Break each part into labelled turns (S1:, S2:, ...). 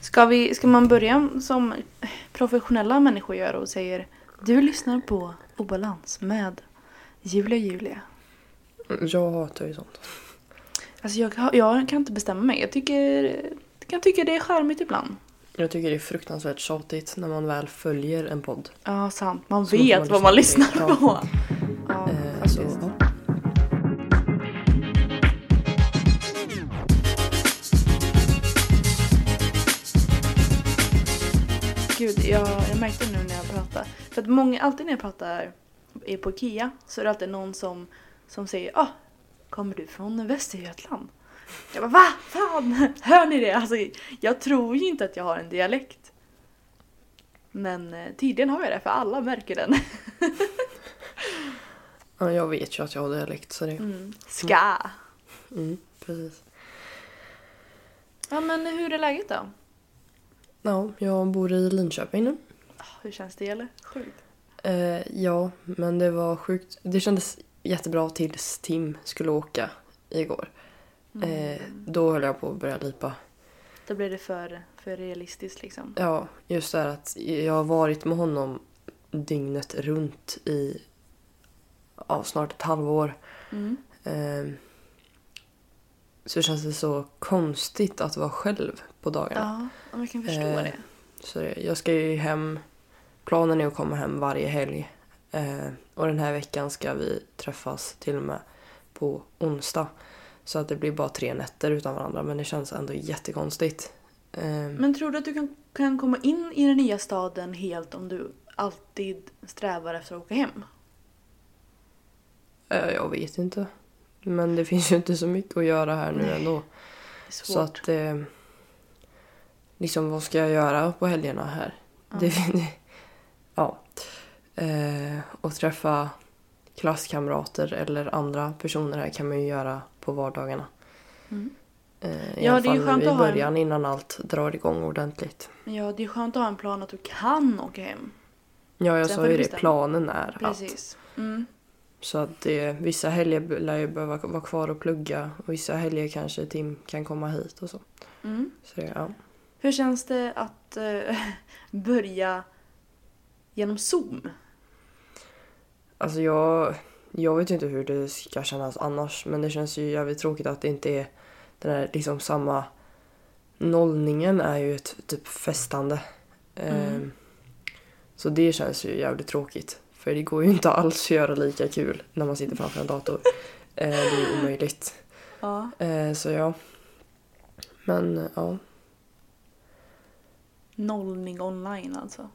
S1: Ska, vi, ska man börja som professionella människor gör och säger Du lyssnar på Obalans med Julia Julia. Mm.
S2: Jag hatar ju sånt.
S1: Alltså jag, jag kan inte bestämma mig. Jag tycker, jag kan tycka det är charmigt ibland.
S2: Jag tycker det är fruktansvärt tjatigt när man väl följer en podd.
S1: Ja, sant. Man
S2: Så får
S1: vet
S2: man
S1: vad man
S2: lyssna
S1: lyssnar
S2: på det.
S1: på. Ja,
S2: Eh,
S1: faktiskt.
S2: så, ja.
S1: Gud, jag, jag märkte nu när jag pratar. För att många, alltid när jag pratar i- på Ikea så är det alltid någon som, som säger ah, kommer du från Västergötland? Jag bara va? Fan! Hör ni det? Alltså, jag tror ju inte att jag har en dialekt. Men eh, tydligen har jag det för alla märker den.
S2: Ja, jag vet ju att jag har dialekt så det...
S1: Mm. Ska!
S2: Mm, precis.
S1: Ja men hur är läget då?
S2: Ja, jag bor i Linköping nu.
S1: Ah, Hur känns det eller? Sjukt.
S2: Eh, ja, men det var sjukt. Det kändes jättebra tills Tim skulle åka igår.
S1: Mm.
S2: Eh, då höll jag på att börja lipa.
S1: Då blir det för, för realistiskt liksom.
S2: Ja, just det här att jag har varit med honom dygnet runt i ja, snart ett halvår.
S1: Mm.
S2: Ehm, så känns det så konstigt att vara själv på dagarna.
S1: Ja, men jag kan förstå
S2: Eh,
S1: det.
S2: Så det- jag ska ju hem. Planen är att komma hem varje helg. Eh, och den här veckan ska vi träffas till och med på onsdag. Så att det blir bara tre nätter utan varandra men det känns ändå jättekonstigt. Ehm,
S1: Men tror du att du kan, kan komma in i den nya staden helt om du alltid strävar efter att åka hem?
S2: eh, jag vet inte. Men det finns ju inte så mycket att göra här nu
S1: Nej,
S2: ändå.
S1: Det är
S2: Så
S1: svårt.
S2: att... Eh, liksom vad ska jag göra på helgerna här? Det, ja. Eh, och träffa klasskamrater eller andra personer här kan man ju göra på vardagarna.
S1: Mm.
S2: Eh, I
S1: Ja,
S2: alla
S1: det är ju
S2: fall
S1: skönt
S2: i
S1: att ha en-
S2: början innan allt drar igång ordentligt.
S1: Men ja, det är skönt att ha en plan att du kan åka hem.
S2: Ja, jag
S1: Sen får
S2: sa
S1: du
S2: ju det.
S1: bestämma.
S2: Planen är att.
S1: Precis. Mm.
S2: Så att det, vissa helger lär jag behöva vara kvar och plugga och vissa helger kanske Tim kan komma hit och så.
S1: Mm.
S2: så det, ja.
S1: Hur känns det att eh, börja genom Zoom?
S2: Alltså jag, jag vet ju inte hur det ska kännas annars men det känns ju jävligt tråkigt att det inte är den här liksom samma nollningen är ju ett typ festande. Ehm, så det känns ju jävligt tråkigt. För det går ju inte alls att göra lika kul när man sitter framför en dator. Ehm, det är ju omöjligt.
S1: Ja.
S2: Ehm, så ja. Men ja,
S1: Nollning online alltså.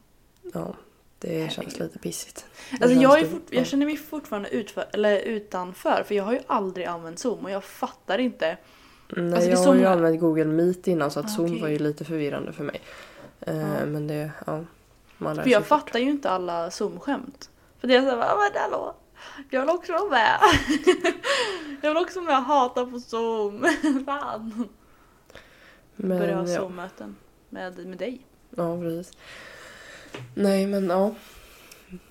S2: ja det känns lite pissigt. Det
S1: Alltså
S2: känns
S1: jag, är
S2: typ-
S1: fort,
S2: ja.
S1: jag känner mig fortfarande utför, eller utanför för jag har ju aldrig använt Zoom och jag fattar inte.
S2: Nej,
S1: Alltså, det är
S2: Mm, jag
S1: så
S2: har ju
S1: många-
S2: använt Google Meet innan så att
S1: Ah,
S2: Zoom
S1: okej.
S2: var ju lite förvirrande för mig. Eh,
S1: Ja.
S2: Men det, ja. Man lär
S1: För
S2: sig
S1: jag
S2: fort.
S1: fattar ju inte alla Zoom-skämt. För det är såhär, "Ah, men hallå, jag vill också vara med. jag vill också vara med och hata på Zoom. Fan.
S2: Men, eh,
S1: Börja ha
S2: ja.
S1: Zoom-möten med, med dig.
S2: ja, precis. Nej, men ja.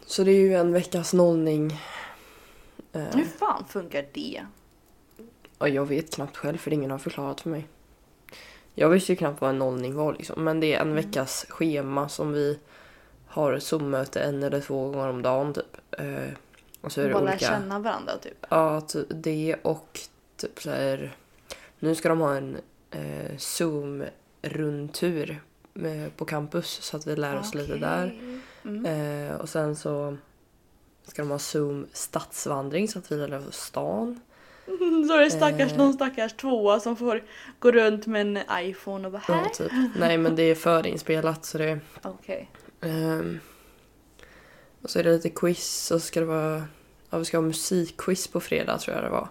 S2: Så det är ju en veckas nollning. Eh,
S1: Hur fan funkar det?
S2: och jag vet knappt själv för ingen har förklarat för mig. Jag visste ju knappt vad en nollning var liksom. Men det är
S1: Mm.
S2: en veckas schema som vi har ett Zoom-möte en eller två gånger om dagen typ. Eh, och så är det
S1: Bara lära
S2: olika...
S1: känna varandra typ.
S2: Ja, ty- det och typ så här. Nu ska de ha en eh, Zoom-rundtur eh, på campus så att vi lär oss lite där.
S1: Mm.
S2: Eh, och sen så ska de ha Zoom stadsvandring så att vi lär oss stan.
S1: Så är det stackars,
S2: Eh.
S1: någon stackars tvåa som får gå runt med en iPhone och bara
S2: Ja,
S1: här.
S2: typ. Nej men det är förinspelat så det...
S1: Okej.
S2: ehm, och så är det lite quiz och så ska det vara... Ja, vi ska ha musikquiz på fredag tror jag det var.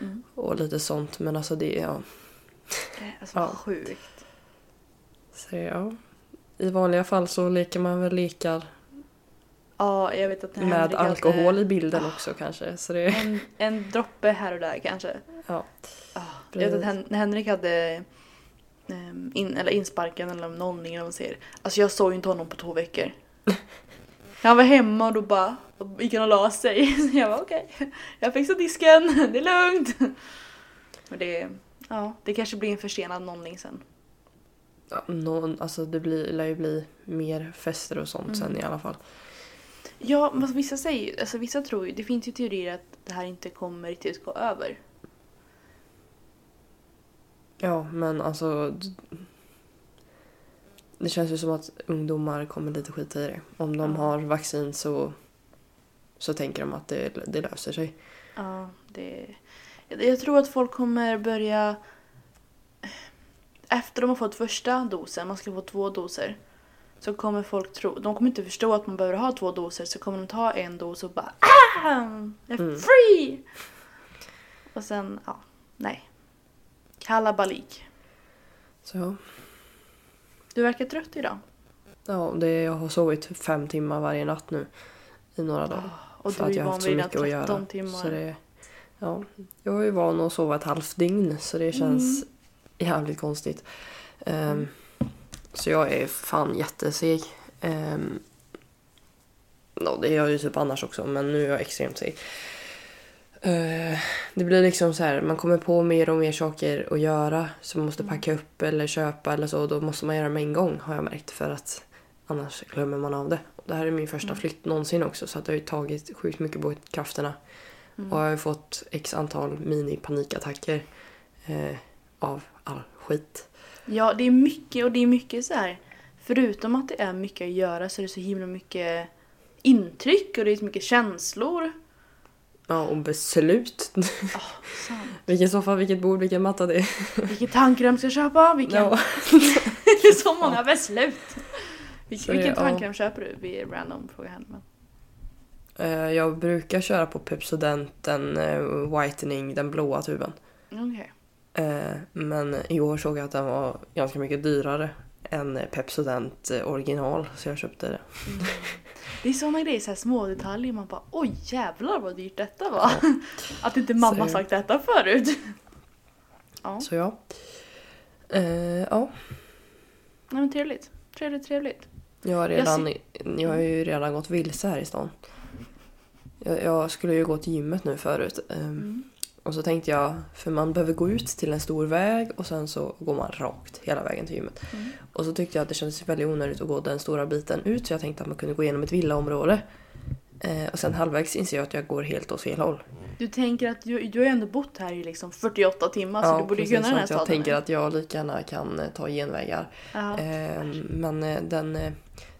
S1: Mm.
S2: Och lite sånt men alltså det... Ja.
S1: Det är alltså
S2: Ja.
S1: sjukt.
S2: Så det, ja. I vanliga fall så leker man väl lekar
S1: Ja, jag vet att det
S2: med
S1: händer
S2: alkohol i
S1: alltid-
S2: bilden också kanske. Så det,
S1: En, en droppe här och där kanske.
S2: ja.
S1: Ja, jag vet att Hen- när Henrik hade ehm, in, eller insparken eller nollningen eller vad man säger. Alltså jag såg ju inte honom på två veckor. Han var hemma och då bara och gick han och la sig. Så jag var okej, jag fixar disken, det är lugnt. Men det, ja, det kanske blir en försenad nollning sen.
S2: Ja, någon, alltså det blir, lär ju bli mer fester och sånt
S1: Mm.
S2: sen i alla fall.
S1: Ja, men vissa säger alltså vissa tror ju, det finns ju teorier att det här inte kommer riktigt gå över.
S2: Ja, men alltså... d- Det känns ju som att ungdomar kommer lite skita i det. Om de
S1: Ja.
S2: har vaccin så, så tänker de att det, det löser sig.
S1: Ja, det... Jag jag tror att folk kommer börja... Efter de har fått första dosen, man ska få två doser, så kommer folk tro... De kommer inte förstå att man behöver ha två doser, så kommer de ta en dos och bara ah! Jag är
S2: Mm.
S1: free! Och sen, ja, nej. Kalabalik.
S2: Så ja.
S1: Du verkar trött idag.
S2: ja det, jag har sovit fem timmar varje natt nu i några dagar.
S1: Och du är ju van vid dina 13 timmar.
S2: Så det, ja, jag är ju van att sova ett halvt dygn så det känns
S1: Mm.
S2: jävligt konstigt. Ehm, Så jag är fan jätteseg. Um, no, det är jag ju typ annars också men nu är jag extremt seg. Eh, det blir liksom så här, man kommer på mer och mer saker att göra som man måste packa upp eller köpa eller så. Då måste man göra med en gång har jag märkt för att annars glömmer man av det. Det här är min första flytt någonsin också så att det har ju tagit sjukt mycket på krafterna. Och jag har ju fått x antal mini-panikattacker eh, av all skit.
S1: Ja, det är mycket och det är mycket så här. Förutom att det är mycket att göra så är det så himla mycket intryck och det är så mycket känslor.
S2: Ja, och beslut.
S1: Sant.
S2: vilken soffa, vilket bord, vilken matta det är.
S1: Vilken tandkräm ska jag köpa? Vilken...
S2: Ja.
S1: det är så många beslut! Vil-
S2: Så det-
S1: vilken
S2: ja.
S1: tandkräm köper du? Vi är random fråga här. Men...
S2: Eh, jag brukar köra på Pepsodent, den eh, whitening, den blåa tuben.
S1: Okej.
S2: Eh, men i år såg jag att den var ganska mycket dyrare än Pepsodent eh, original så jag köpte det.
S1: Det är såna grejer, så här små detaljer man bara oj jävlar vad dyrt detta var. Att inte mamma
S2: Så-
S1: sagt detta förut. Ja,
S2: Så ja. Eh, ja.
S1: Nej, men trevligt. Trevligt, trevligt.
S2: Jag har,
S1: Jag
S2: redan, jag, har ju redan gått vilse här i stan. Jag, jag skulle ju gå till gymmet nu förut. ehm,
S1: Mm.
S2: Och så tänkte jag, för man behöver gå ut till en stor väg och sen så går man rakt hela vägen till gymmet.
S1: Mm.
S2: Och så tyckte jag att det kändes väldigt onödigt att gå den stora biten ut så jag tänkte att man kunde gå igenom ett villaområde. Eh, och sen halvvägs inser jag att jag går helt åt fel håll.
S1: Du tänker att du, du har ju ändå bott här i liksom 48 timmar så du borde ju
S2: precis,
S1: kunna den här
S2: så att
S1: staden.
S2: Jag tänker att jag lika gärna kan eh, ta genvägar.
S1: Ja.
S2: Ehm, men eh, den, eh,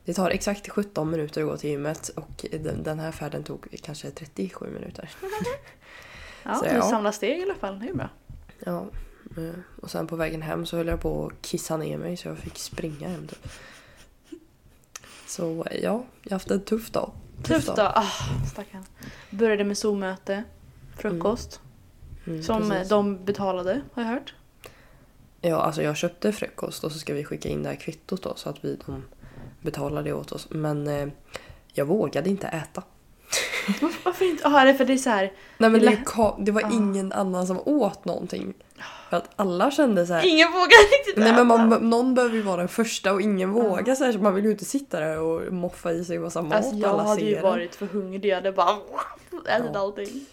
S2: det tar exakt 17 minuter att gå till gymmet och den, den här färden tog kanske 37 minuter.
S1: Mm. ja,
S2: så
S1: du
S2: ja. Mm,
S1: samlar steg i alla fall, det är ju bra.
S2: Ja. eh, Och sen på vägen hem så höll jag på att kissa ner mig så jag fick springa hem typ. Så eh, ja, jag har haft en tuff dag.
S1: Tufft då. Ah, stackarn. Började med Zoom-möte, frukost,
S2: Mm,
S1: som eh,
S2: precis.
S1: de betalade har jag hört.
S2: Ja, alltså jag köpte frukost och så ska vi skicka in det här kvittot då så att vi de betalar det åt oss. Men eh, jag vågade inte äta.
S1: Varför- Varför inte? Ja, det är för det är så här.
S2: Nej men
S1: Det
S2: det,
S1: lä-
S2: är ka- det var ingen annan som åt någonting. För att alla kände så här.
S1: Ingen vågar riktigt
S2: Nej
S1: äta.
S2: men man, någon behöver ju vara den första och ingen vågar så här så man vill ju inte sitta där och moffa i sig massa mat
S1: Alltså jag
S2: alla
S1: hade ju
S2: ser
S1: varit för hungrig, jag hade bara ätit
S2: Ja.
S1: allting.
S2: den.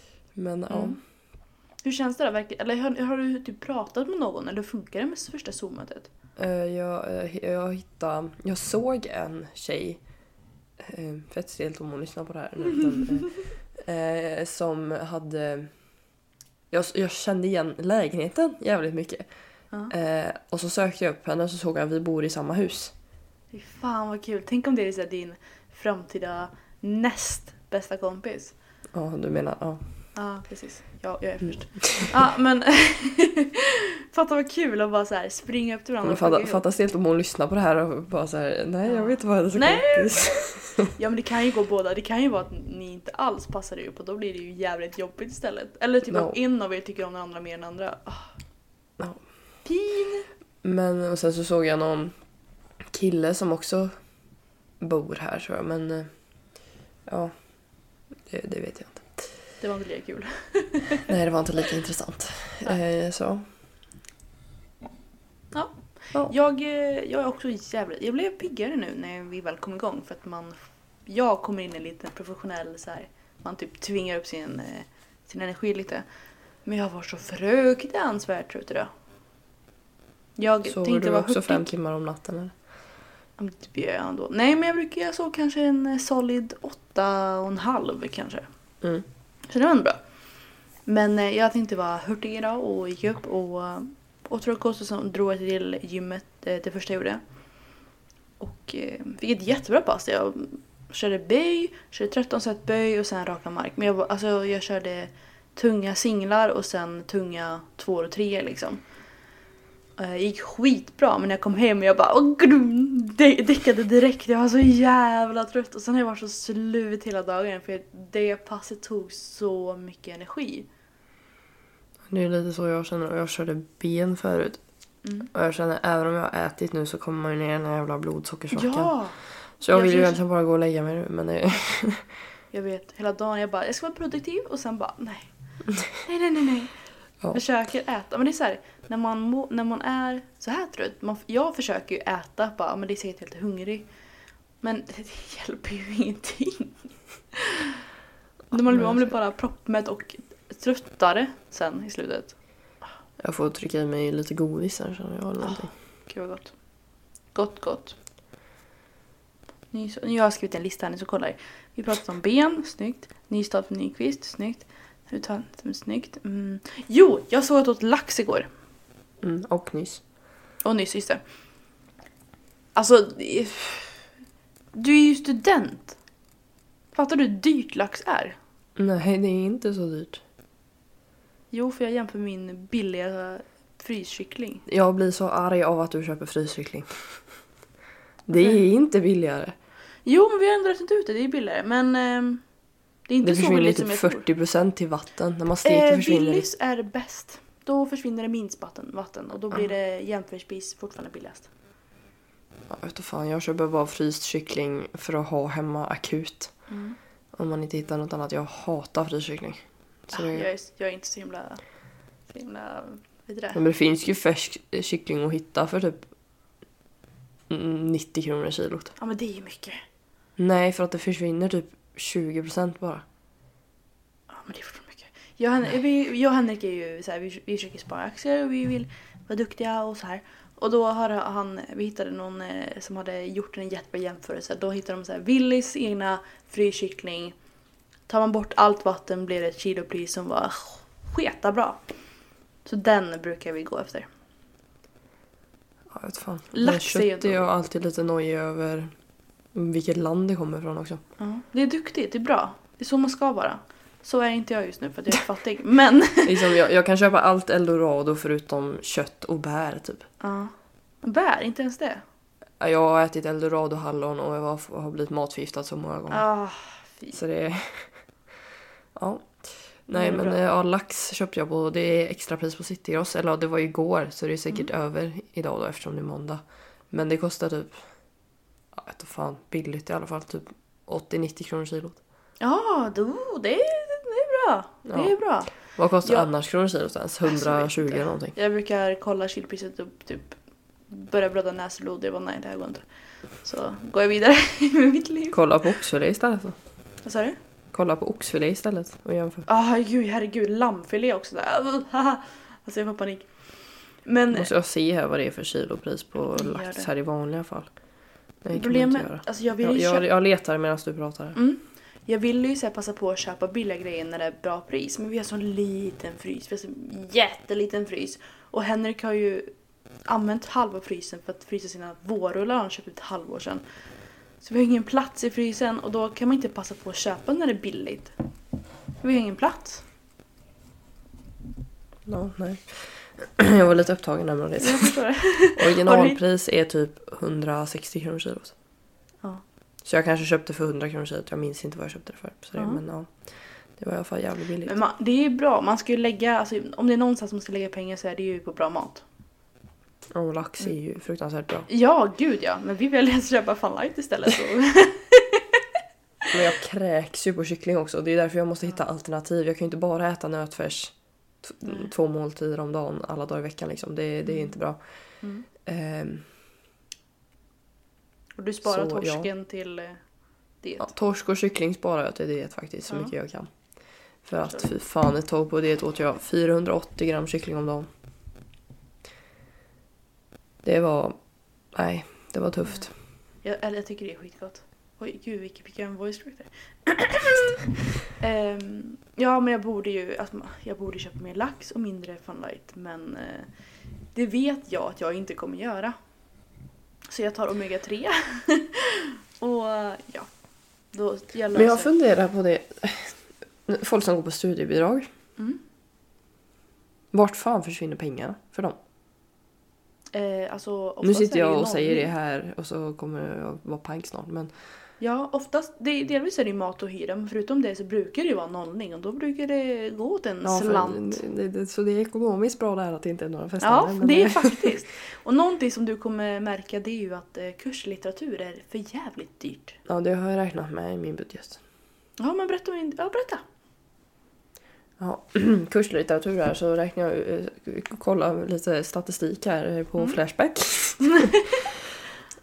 S2: Men
S1: Mm. Hur känns det då? Verkligen- Eller har, har du typ pratat med någon eller funkar det med första Zoom-mötet?
S2: ja, Eh, jag, eh, jag hittade, jag såg en tjej, eh, fett stelt om hon lyssnar på det här nu, men, eh, eh, som hade, jag, jag kände igen lägenheten jävligt mycket.
S1: Ja.
S2: Eh, och så sökte jag upp henne och så såg jag att vi bor i samma hus.
S1: Fy fan vad kul. Tänk om det är så här din framtida näst bästa kompis.
S2: Ja, du menar, ja.
S1: Ja, precis. Ja, jag är
S2: Mm.
S1: först. Ja, men fatta vad kul att bara så här springa upp till varandra.
S2: Men
S1: och fråga
S2: fatta,
S1: hur-
S2: fatta stelt om hon lyssnar på det här och bara såhär, nej jag vet inte vad jag ska
S1: Nej.
S2: kompis.
S1: Ja, men det kan ju gå båda. Det kan ju vara att ni inte alls passar ihop och då blir det ju jävligt jobbigt istället. Eller typ
S2: No.
S1: att en av er tycker om den andra mer än den andra. Ah.
S2: Ja.
S1: Pin!
S2: Men och sen så såg jag någon kille som också bor här tror jag. Men eh, ja, det, det vet jag inte.
S1: Det var inte lika kul.
S2: Nej, det var inte lika intressant. Eh, så.
S1: Ja.
S2: Ja.
S1: Jag, eh, jag är också jävligt... Jag blev piggare nu när vi väl kom igång för att man... Jag kommer in i lite professionell så här. Man typ tvingar upp sin, eh, sin energi lite. Men jag var så fruktansvärt trött idag. Jag
S2: Sover
S1: tänkte
S2: du
S1: vara
S2: också fem
S1: hurtig.
S2: timmar om natten eller?
S1: Ja, men Typ gör jag ändå. Nej men jag brukar jag sov kanske en eh, solid åtta och en halv kanske.
S2: Mm.
S1: Så det var ändå bra. Men eh, jag tänkte vara hurtig idag och gick upp och eh, åt frukost och så drog jag till gymmet eh, det första jag gjorde. Och eh, fick ett jättebra pass. Jag körde böj, körde 13 set böj och sen raka mark. Men jag, var- alltså, jag körde tunga singlar och sen tunga tvåor och treor liksom. Eh, gick skitbra men när jag kom hem jag bara åh, grum, dä- däckade direkt. Jag var så jävla trött och sen har jag varit så slut hela dagen för det passet tog så mycket energi.
S2: Det är lite så jag känner och jag körde ben förut.
S1: Mm.
S2: Och jag känner även om jag har ätit nu så kommer man ju ner i den här jävla blodsockersvackan.
S1: Ja!
S2: Så jag
S1: Jag
S2: vill ju
S1: försöker-
S2: egentligen bara gå och lägga mig nu men det...
S1: Jag vet, hela dagen jag bara jag ska vara produktiv och sen bara nej. Nej nej nej nej.
S2: Ja.
S1: Försöker äta. Men det är så här, när man, må, när man är så här trött. Man, jag försöker ju äta bara men det är säkert helt hungrig. Men det hjälper ju ingenting. Man blir, man blir bara proppmätt och tröttare sen i slutet.
S2: Jag får trycka i mig lite godis här känner jag eller någonting.
S1: Gud vad gott. Gott gott. Ny, jag har skrivit en lista här, ni som kollar. Vi pratade om ben, snyggt. Nystad för Nyqvist, snyggt. Uttalandet, snyggt. Mm. Jo, jag såg att jag åt lax igår.
S2: Mm, och nyss.
S1: Och nyss, just det. Alltså... det- Du är ju student. Fattar du hur dyrt lax är?
S2: Nej det är inte så dyrt.
S1: Jo, för jag jämför min billiga fryskyckling.
S2: Jag blir så arg av att du köper fryskyckling. Det är inte billigare.
S1: Jo, men vi har ändå räknat ut det. Det är billigare. Men ehm, det är inte
S2: Det
S1: så
S2: försvinner
S1: billigt som
S2: typ
S1: jag tror.
S2: 40% till vatten. När man steker
S1: Eh,
S2: försvinner det.
S1: Willys är bäst. Då försvinner det minst vatten, vatten och då
S2: Mm.
S1: blir det jämförelsevis fortfarande billigast.
S2: Ja, vet du fan, jag köper bara fryst kyckling för att ha hemma akut. Om man inte hittar något annat. Jag hatar fryst kyckling. Så
S1: Ah,
S2: det...
S1: jag, är, jag är inte så himla... Så himla vet du det?
S2: Men det finns ju färsk eh, kyckling att hitta för typ mm, 90 kronor kilot.
S1: Ja men det är ju mycket.
S2: Nej, för att det försvinner typ 20% bara.
S1: Ja men det är fortfarande mycket. Jag, och Hen- vi, jag och Henrik är ju så här, vi, vi försöker spara aktier och vi vill vara duktiga och så här. Och då har han, vi hittade någon eh, som hade gjort en jättebra jämförelse. Då hittade de så här Willys egna fryskyckling. Tar man bort allt vatten blir det ett kilopris som var sketa bra. Så den brukar vi gå efter.
S2: Ja, vet fan.
S1: Lax
S2: Men
S1: är ju
S2: kött är jag alltid lite nojig över vilket land det kommer ifrån också.
S1: Ja, Det är duktigt, det är bra. Det är så man ska vara. Så är inte jag just nu för att jag är fattig. Men...
S2: Liksom, jag, jag kan köpa allt eldorado förutom kött och bär typ.
S1: Ja. Bär, inte ens det.
S2: Ja, Jag har ätit eldorado-hallon och jag var, har blivit matförgiftad så många gånger.
S1: Ah, fy.
S2: Så det är... ja. Nej
S1: Men det är
S2: men
S1: Mm, bra.
S2: eh, ja, lax köpte jag på och det är extrapris på Citygross. Eller ja, det var ju igår så det är säkert
S1: Mm.
S2: över idag då eftersom det är måndag. Men det kostar typ... Ja, jag vet inte fan, billigt i alla fall. Typ 80-90 kronor kilot.
S1: Ja, då, det, är, det är bra. Det är
S2: Ja.
S1: bra.
S2: Vad kostar
S1: Ja.
S2: annars kronor kilot ens?
S1: Alltså, jag vet
S2: 120
S1: inte.
S2: eller någonting.
S1: Jag brukar kolla kylpriset upp, typ börja blöda näsblod. Jag bara nej, det här går inte. Så går jag vidare med mitt liv.
S2: Kolla på oxfilé istället då.
S1: Vad sa du?
S2: Kolla på oxfilé istället och jämför.
S1: Ah, gud, herregud, lammfilé också. Där. Uh, haha. Alltså jag får panik. Men
S2: Måste jag se här vad det är för kilopris på
S1: Gör
S2: lax
S1: det.
S2: här i vanliga fall. Nej, det kan man inte göra.
S1: problemet, alltså jag vill
S2: Jag,
S1: ju
S2: jag,
S1: köpa,
S2: jag letar medan du pratar. här.
S1: Mm. jag vill ju så här passa på att köpa billiga grejer när det är bra pris. Men vi har sån liten frys, vi har sån jätteliten frys. Och Henrik har ju använt halva frysen för att frysa sina vårrullar han köpte för ett halvår sedan. Så vi har ingen plats i frysen och då kan man inte passa på att köpa när det är billigt. Vi har ingen plats.
S2: Ja, nej. Jag var lite upptagen där med det.
S1: Jag förstår det.
S2: Originalpris är typ 160 kronor kilot.
S1: Ja.
S2: Så jag kanske köpte för 100 kronor kilot. Jag minns inte vad jag köpte det för. Så det,
S1: Ja.
S2: Men ja, det var i alla fall jävligt billigt.
S1: Men man, det är ju bra, man ska ju lägga, alltså, om det är någonstans man ska lägga pengar så är det ju på bra mat.
S2: Och lax är ju fruktansvärt bra.
S1: Ja, gud ja. Men vi väljer att köpa Fun Light istället. Så.
S2: Men jag kräks ju på kyckling också. Det är därför jag måste hitta alternativ. Jag kan ju inte bara äta nötfärs t- två måltider om dagen alla dagar i veckan. Liksom. Det, det är inte bra. Ehm,
S1: Och du sparar
S2: Så, ja.
S1: torsken till eh, diet.
S2: ja, torsk och kyckling sparar jag till diet faktiskt så mycket jag kan. För att fy fan ett tag på diet åt jag 480 gram kyckling om dagen. Det var... Nej, det var tufft.
S1: Jag, eller jag tycker det är skitgott. Oj gud vilken, vilken voice track där. um, ja men jag borde ju alltså, jag borde köpa mer lax och mindre funlight men eh, det vet jag att jag inte kommer göra. Så jag tar omega 3 och ja. Då jag löser.
S2: Men jag funderar på det. Folk som går på studiebidrag.
S1: Mm.
S2: Vart fan försvinner pengarna för dem?
S1: Eh, alltså,
S2: nu
S1: oftast
S2: sitter
S1: är det
S2: jag
S1: ju
S2: och säger det
S1: nollning.
S2: här och så kommer jag vara pank snart. Men
S1: Ja oftast, det, delvis är det ju mat och hyra men förutom det så brukar det ju vara nollning och då brukar det gå åt en
S2: Ja, för-
S1: Mm, slant.
S2: det, det, så det är ekonomiskt bra där att det inte är några fester.
S1: Ja,
S2: men,
S1: det är faktiskt. Och någonting som du kommer märka det är ju att eh, kurslitteratur är för jävligt dyrt.
S2: ja, det har jag räknat med i min budget.
S1: Ja, men berätta. om din- Ja, berätta.
S2: Ja, kurslitteratur här så räknar jag eh, kolla lite statistik här eh, på
S1: Mm.
S2: Flashback.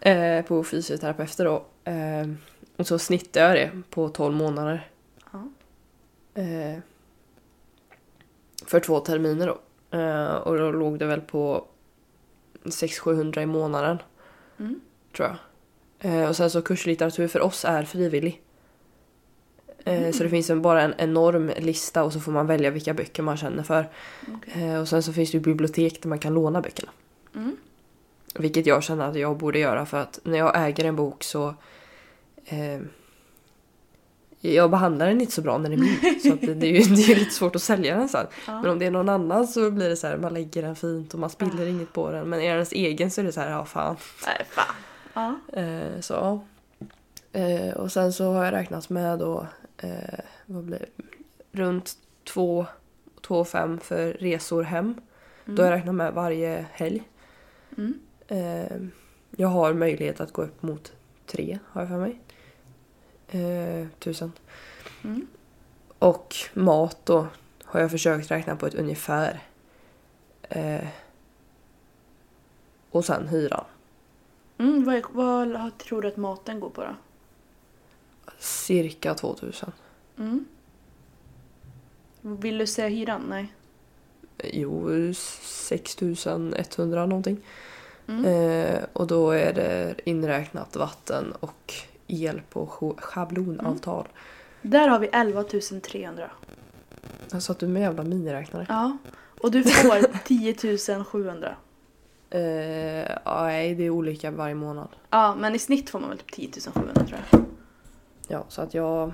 S2: eh, på fysioterapeuter då. Eh, och så snittar jag det på 12 månader.
S1: Ja.
S2: Eh, för två terminer då. Eh, och då låg det väl på 600-700 i månaden.
S1: Mm.
S2: Tror jag. Eh, och sen så kurslitteratur för oss är frivillig. Eh, Så
S1: Mm.
S2: det finns en, bara en enorm lista och så får man välja vilka böcker man känner för.
S1: Okej.
S2: Eh, Och sen så finns det ju bibliotek där man kan låna böckerna.
S1: Mm.
S2: Vilket jag känner att jag borde göra för att när jag äger en bok så... Eh, jag behandlar den inte så bra när den är min. så att det, det är ju det är ju lite svårt att sälja den sen.
S1: Ja.
S2: Men om det är någon annan så blir det så här, man lägger den fint och man
S1: Ah.
S2: spiller inget på den. Men är den ens egen så är det så här, ja fan.
S1: Nej, fan. Ja.
S2: Eh, så ja. Eh, och sen så har jag räknat med då eh, vad blir det? runt 2 5 för resor hem. Då har jag räknat med varje helg.
S1: Mm.
S2: Eh, jag har möjlighet att gå upp mot tre har jag för mig. Eh, tusen.
S1: Mm.
S2: Och mat då har jag försökt räkna på ett ungefär. Eh, och sen hyran.
S1: Mm, vad, vad har- tror du att maten går på då?
S2: Cirka 2000.
S1: Mm. Vill du säga hyran? Nej.
S2: Jo, 6100 någonting.
S1: Mm.
S2: Eh, och då är det inräknat vatten och el på scho- schablonavtal.
S1: Mm. Där har vi 11 300.
S2: Jag satt du med jävla miniräknare?
S1: Ja. Och du får 10 700.
S2: Eh, nej, det är olika varje månad.
S1: Ja, men i snitt får man väl typ 10 700 tror jag.
S2: Ja, så att jag...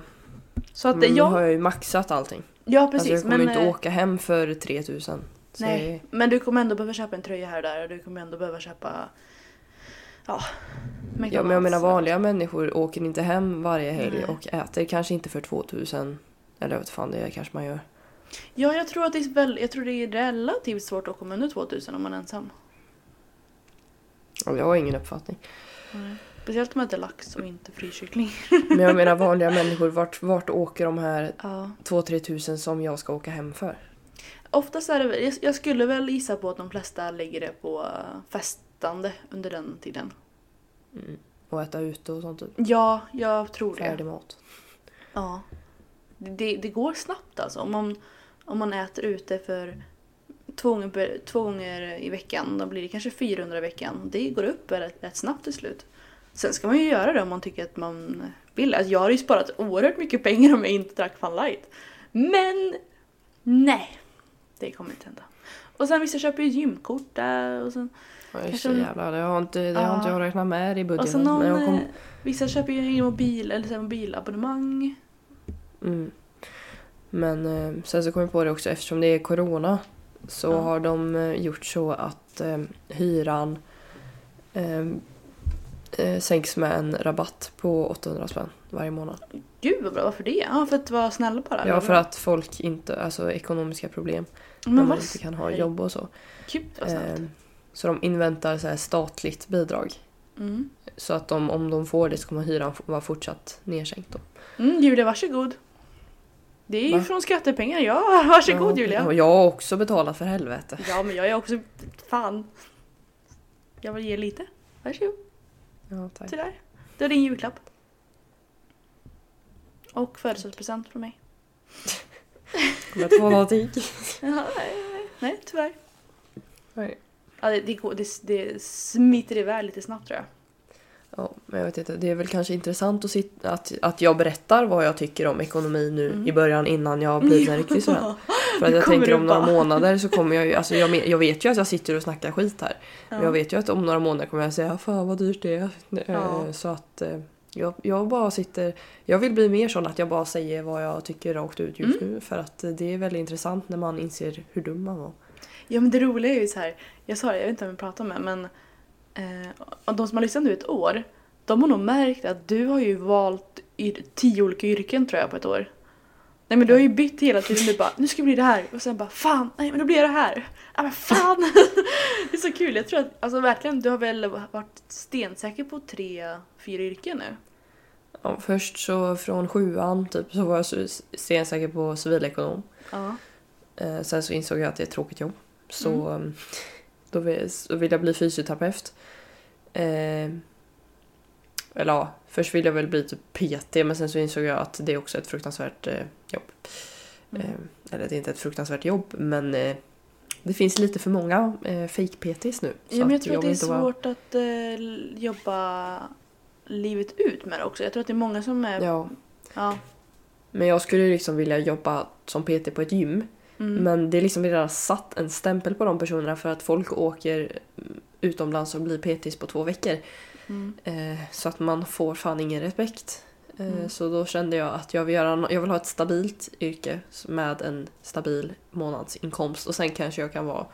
S1: Så att
S2: Men nu har
S1: jag...
S2: jag ju maxat allting.
S1: Ja, precis.
S2: alltså jag kommer
S1: men,
S2: inte
S1: eh,
S2: åka hem för 3000. Så
S1: Nej, men du kommer ändå behöva köpa en tröja här och där och du kommer ändå behöva köpa... Ja, McDonald's.
S2: Ja, men jag menar vanliga människor åker inte hem varje helg
S1: Nej.
S2: och äter kanske inte för 2000. Eller jag vet fan, det kanske man gör.
S1: Ja, jag tror att det är, väl, jag tror det är relativt svårt att komma under 2000 om man är ensam.
S2: Ja, Jag har ingen uppfattning. Mm.
S1: Speciellt om man äter lax och inte fryskyckling.
S2: Men jag menar vanliga människor, vart, vart åker de här
S1: Ja.
S2: 2-3 tusen som jag ska åka hem för?
S1: Oftast är det väl, jag- jag skulle väl gissa på att de flesta lägger det på eh, festande under den tiden. Mm.
S2: Och äta ute och sånt typ.
S1: Ja, jag tror det.
S2: Färdig mat.
S1: Ja. Det, det går snabbt alltså. Om man, om man äter ute för två gånger, per- två gånger i veckan, då blir det kanske 400 i veckan. Det går upp rätt, rätt snabbt till slut. Sen ska man ju göra det om man tycker att man vill. Alltså, jag hade ju sparat oerhört mycket pengar om jag inte drack Fun Light. Men nej, det kommer inte hända. Och sen vissa köper ju gymkort där och sen
S2: Ja, just
S1: Kanske
S2: det,
S1: om-
S2: jävlar, det har inte, det har
S1: Ja.
S2: inte jag räknat med i
S1: och sen
S2: budgeten.
S1: någon,
S2: Men jag kom-
S1: eh, vissa köper ju mobil eller så här mobilabonnemang.
S2: Mm. Men eh, sen så kom jag på det också, eftersom det är corona så
S1: Ja.
S2: har de eh, gjort så att eh, hyran eh, eh, sänks med en rabatt på 800 spänn varje månad.
S1: Gud vad bra, varför det? Ja, för att vara snäll bara.
S2: Ja,
S1: eller
S2: för
S1: vad?
S2: att folk inte, alltså ekonomiska problem, när
S1: Men
S2: man
S1: vad
S2: inte kan ha
S1: snällt.
S2: jobb och så.
S1: Gud vad snällt.
S2: Ehm, Så de inväntar så här statligt bidrag.
S1: Mm.
S2: Så att de, om de får det så kommer hyran f- vara fortsatt nedsänkt. Då.
S1: Mm, Julia, varsågod. Det är ju
S2: Va?
S1: från skattepengar, ja. Varsågod
S2: Ja,
S1: Julia.
S2: Och jag har också betalat för helvete.
S1: Ja, men jag är också... Fan. Jag vill ge lite. Varsågod,
S2: Ja, tack.
S1: till där. Det är din julklapp. Och födelsedagspresent från mig.
S2: Kommer jag få någonting?
S1: Ja, nej, nej, nej, tyvärr.
S2: Nej.
S1: Ja, det, det, går- det, det smiter iväg lite snabbt tror jag.
S2: Ja, men jag vet inte. Det är väl kanske intressant att, sit- att, att jag berättar vad jag tycker om ekonomi nu i början innan jag blir en riktig student. För att
S1: Du
S2: jag
S1: Mm. kommer
S2: tänker
S1: och
S2: om några
S1: bara-
S2: månader så kommer jag ju, alltså jag, men- jag vet ju att jag sitter och snackar skit här. Men jag vet ju att om några månader kommer jag säga fan vad dyrt det är. Eh,
S1: Ja.
S2: Så att eh, jag, jag bara sitter, jag vill bli mer sån att jag bara säger vad jag tycker rakt ut just nu. För att eh, det är väldigt intressant när man inser hur dum man var.
S1: Ja men det roliga är ju så här. jag sa det, jag vet inte om jag pratade med men eh, och de som har lyssnat nu ett år, de har nog märkt att du har ju valt yr- tio olika yrken tror jag på ett år. Nej men du har ju bytt hela tiden, du bara nu ska jag bli det här och sen bara fan, nej men då blir jag det här. Ja men fan! det är så kul, jag tror att, alltså verkligen, du har väl varit stensäker på tre, fyra yrken nu?
S2: Ja, först så från sjuan typ så var jag så stensäker på civilekonom.
S1: Ja.
S2: Eh, sen så insåg jag att det är ett tråkigt jobb. Så
S1: Mm.
S2: eh, då vill, så vill jag bli fysioterapeut. Eh, eller ja, först ville jag väl bli typ PT men sen så insåg jag att det är också ett fruktansvärt eh, jobb.
S1: Mm.
S2: Eh, eller det är inte ett fruktansvärt jobb men eh, det finns lite för många eh, fake-PTs nu. så
S1: Ja, men jag
S2: att
S1: tror att det
S2: vill
S1: är
S2: inte vara-
S1: svårt att eh, l- jobba livet ut med det också. Jag tror att det är många som är...
S2: Ja,
S1: ja.
S2: men jag skulle ju liksom vilja jobba som PT på ett gym.
S1: Mm.
S2: Men det är liksom redan satt en stämpel på de personerna för att folk åker utomlands och blir PTs på två veckor.
S1: Mm.
S2: Eh, så att man får fan ingen respekt. Eh, Så då kände jag att jag vill, göra, no- jag vill ha ett stabilt yrke med en stabil månadsinkomst och sen kanske jag kan vara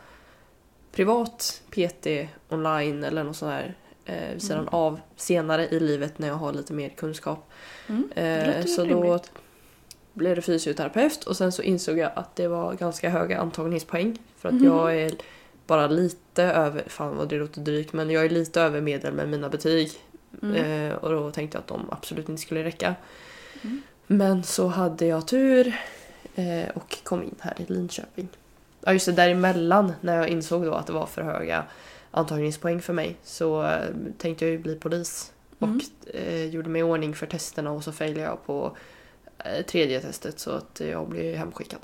S2: privat PT online eller något sånt där eh, vid sidan av senare i livet när jag har lite mer kunskap.
S1: Mm. Det
S2: Eh,
S1: låter
S2: så då
S1: rimligt.
S2: blev det fysioterapeut och sen så insåg jag att det var ganska höga antagningspoäng. För att
S1: Mhm.
S2: jag är bara lite över, fan vad det låter drygt, men jag är lite över medel med mina betyg.
S1: Mm.
S2: Eh, och då tänkte jag att de absolut inte skulle räcka.
S1: Mm.
S2: Men så hade jag tur eh, och kom in här i Linköping. Ja just det, däremellan när jag insåg då att det var för höga antagningspoäng för mig så eh, tänkte jag ju bli polis.
S1: Mm.
S2: Och eh, gjorde mig i ordning för testerna och så failade jag på eh, tredje testet så att jag blev hemskickad.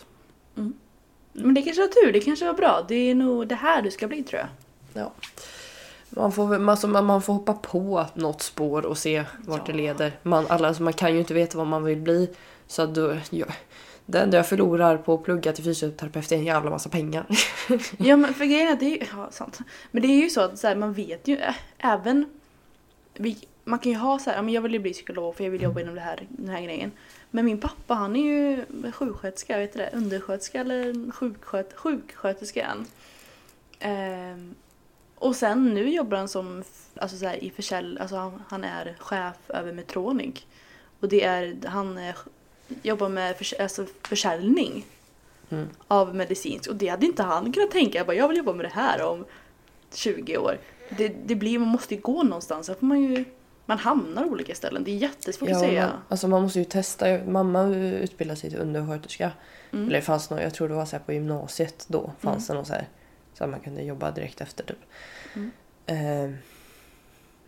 S1: Men det kanske var tur, det kanske var bra. Det är nog det här du ska bli tror jag.
S2: Ja. Man får, väl- alltså, man man får hoppa på något spår och se vart det
S1: Ja.
S2: leder. Man, alla, alltså, man kan ju inte veta vad man vill bli. Så att då, ja, det enda jag förlorar på att plugga till fysioterapeut är en jävla massa pengar.
S1: Ja men för grejen är att det är ju, ja, sant. Men det är ju så att så här, man vet ju ä- även vi, man kan ju ha så här, ja, men jag vill ju bli psykolog för jag vill jobba inom det här, den här grejen. Men min pappa han är ju sjuksköterska, vet du det? Undersköterska eller sjuksköt, sjuksköterska är han. Ehm, och sen nu jobbar han som f- alltså så här, i försälj, alltså han, han är chef över Metronic. Och det är, han eh, jobbar med förs, alltså försäljning av medicinskt och det hade inte han kunnat tänka. Jag bara, jag vill jobba med det här om 20 år. Det, det blir, man måste ju gå någonstans. Där får man ju, man hamnar olika ställen. Det är jättesvårt att säga.
S2: man, alltså, man måste ju testa. Mamma utbildade sig till undersköterska.
S1: Mm.
S2: Eller det fanns någon, jag tror det var så här på gymnasiet då. Fanns
S1: Mm.
S2: det någon så här. Så att man kunde jobba direkt efter typ. Eh,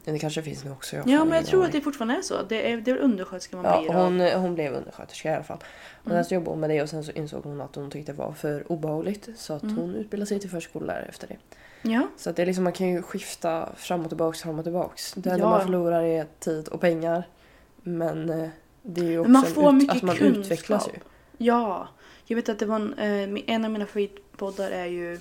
S2: men det kanske finns nu också. har
S1: Ja,
S2: fan
S1: men jag
S2: ingen
S1: tror
S2: aning.
S1: att det fortfarande är så. Det är, det är väl undersköterska man
S2: Ja,
S1: blir. Mm.
S2: hon, eh, hon blev undersköterska i alla fall. Och Sen så jobbade hon med det och sen så insåg hon att hon tyckte det var för obehagligt. Så att
S1: Mm.
S2: hon utbildade sig till förskollärare efter det.
S1: ja.
S2: Så att det är liksom, man kan ju skifta fram och tillbaks, fram och tillbaks. Det enda
S1: Ja.
S2: man förlorar är tid och pengar. Men eh, det är ju också
S1: man
S2: en
S1: får
S2: ut-
S1: mycket
S2: alltså man
S1: kunskap.
S2: utvecklas ju.
S1: Ja, jag vet att det var en, eh, en av mina favoritpoddar är ju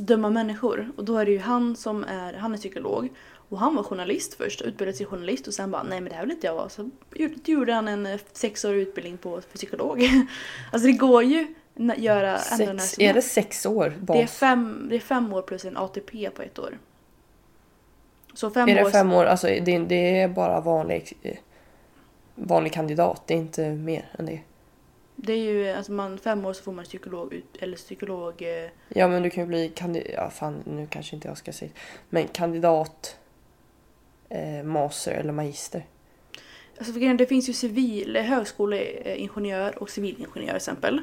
S1: Döma människor och då är det ju han som är, han är psykolog och han var journalist först, utbildade sig till journalist och sen bara nej men det här vill inte jag vara så gjorde- gjorde han en eh, sexårig utbildning på för psykolog. alltså det går ju att göra ändå när
S2: Sex,
S1: som
S2: är det
S1: helst.
S2: sex år bas?
S1: det är fem, det är fem år plus en ATP på ett år. Så fem
S2: är
S1: år
S2: det fem år? Alltså det, är- det är bara vanlig, eh, vanlig kandidat, det är inte mer än det.
S1: Det är ju, alltså man, fem år så får man psykolog, ut- eller psykolog... eh,
S2: Ja men du kan ju bli kandidat, ja, fan nu kanske inte jag ska säga Men kandidat, eh, master eller magister.
S1: Alltså för grejen, det finns ju civil, eh, högskoleingenjör och civilingenjör till exempel.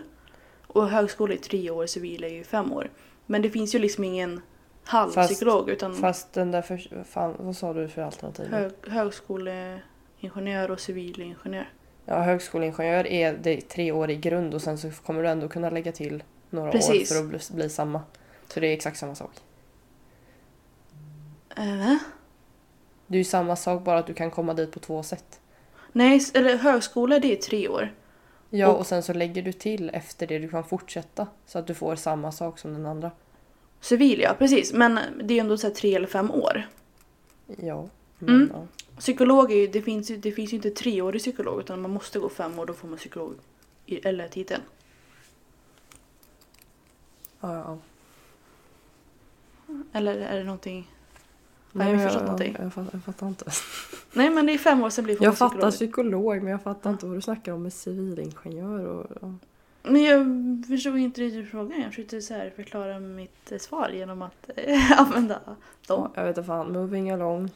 S1: Och högskola är tre år, civil är ju fem år. Men det finns ju liksom ingen halvpsykolog utan
S2: Fast den där för, fan, vad sa du för alternativ?
S1: hög, högskoleingenjör och civilingenjör.
S2: Ja, högskoleingenjör är det är tre år i grund och sen så kommer du ändå kunna lägga till några
S1: Precis.
S2: år för att bli, bli samma. Så det är exakt samma sak.
S1: Äh,
S2: Det är ju samma sak bara att du kan komma dit på två sätt.
S1: nej, s- eller högskola det är tre år.
S2: Ja,
S1: Och-
S2: och sen så lägger du till efter det du kan fortsätta så att du får samma sak som den andra.
S1: Civil ja, precis. Men det är ändå så här tre eller fem år.
S2: Ja.
S1: Mm.
S2: ja.
S1: Psykolog är ju, det finns ju, det finns ju inte treårig psykolog utan man måste gå fem år då får man psykolog i- eller titeln.
S2: Ja, ja.
S1: Eller är det någonting?
S2: Nej,
S1: jag har
S2: jag,
S1: förstått någonting.
S2: jag, fatt- jag fattar inte.
S1: Nej men det är fem år sen blir man
S2: Jag fattar
S1: psykolog.
S2: psykolog men jag fattar inte vad du snackar om med civilingenjör och... Ja.
S1: Men jag förstod inte riktigt frågan. Jag försökte så här förklara mitt eh, svar genom att eh, använda dem.
S2: Jag vet inte fan, moving along.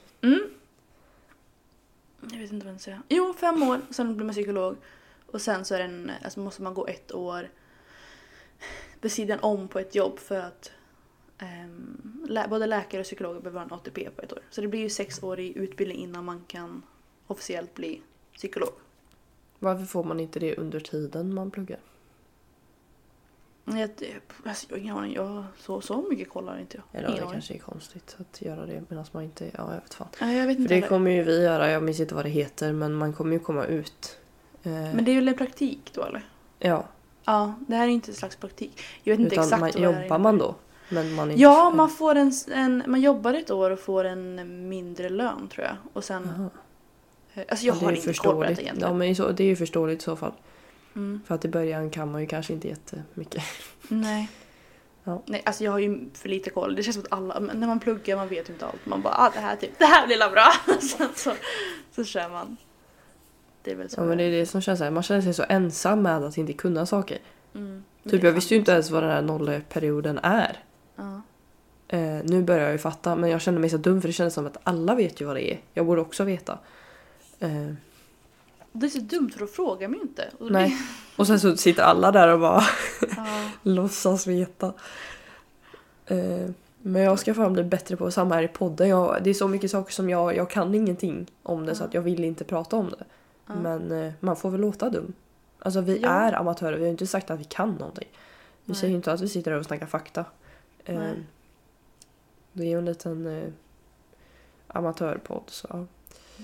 S1: Jag vet inte vad jag ska säga. Jo, fem år, sen blir man psykolog. Och sen så är den, alltså måste man gå ett år vid sidan om på ett jobb för att ehm, lä- både läkare och psykologer behöver ha en ATP på ett år. Så det blir ju sex år i utbildning innan man kan officiellt bli psykolog.
S2: Varför får man inte det under tiden man pluggar?
S1: Jag, alltså, jag har ingen aning, jag, så, så mycket kollar inte jag.
S2: Eller
S1: Ingen
S2: det
S1: aning.
S2: kanske är konstigt att göra det medan man inte... Ja, jag vet fan.
S1: Nej, jag vet
S2: För
S1: inte
S2: det
S1: heller.
S2: kommer ju vi göra, jag minns inte vad det heter men man kommer ju komma ut. Eh,
S1: Men det är väl en praktik då eller?
S2: ja,
S1: Ja, det här är inte en slags praktik. Jag vet inte
S2: utan
S1: exakt
S2: man,
S1: vad det här
S2: jobbar man då? Men man är inte
S1: Ja, man, får en, en, man jobbar ett år och får en mindre lön tror jag. Och sen...
S2: Jaha.
S1: Alltså jag
S2: Ja, det
S1: har
S2: är ju
S1: inte koll på detta
S2: förståeligt. Ja,
S1: egentligen.
S2: men i så, det är ju förståeligt i så fall.
S1: Mm.
S2: För att i början kan man ju kanske inte jättemycket.
S1: Nej.
S2: Ja.
S1: Nej, alltså jag har ju för lite koll. Det känns som att alla, men när man pluggar man vet ju inte allt. Man bara ah, det här typ, det här blir la bra. sen så, så kör man. Det är väl så.
S2: Ja, men det är det som känns så här. Man känner sig så ensam med att inte kunna saker.
S1: Mm. Men
S2: Typ
S1: det är
S2: jag visste ju inte ens vad den här nollperioden är.
S1: Ja.
S2: Eh, nu börjar jag ju fatta men jag kände mig så dum för det kändes som att alla vet ju vad det är. Jag borde också veta. Eh,
S1: Det är så dumt för då frågar man ju inte. Och då
S2: nej.
S1: blir-
S2: Och sen så sitter alla där och bara
S1: Ja.
S2: låtsas veta. Eh, men jag ska fan bli bättre på samma här i podden. Jag, det är så mycket saker som jag, jag kan ingenting om det så att jag vill inte prata om det. Men eh, man får väl låta dum. Alltså vi
S1: Ja.
S2: är amatörer, vi har ju inte sagt att vi kan någonting. Vi
S1: Nej.
S2: säger ju inte att vi sitter här och snackar fakta. Eh,
S1: Nej.
S2: det är ju en liten eh, amatörpodd så ja.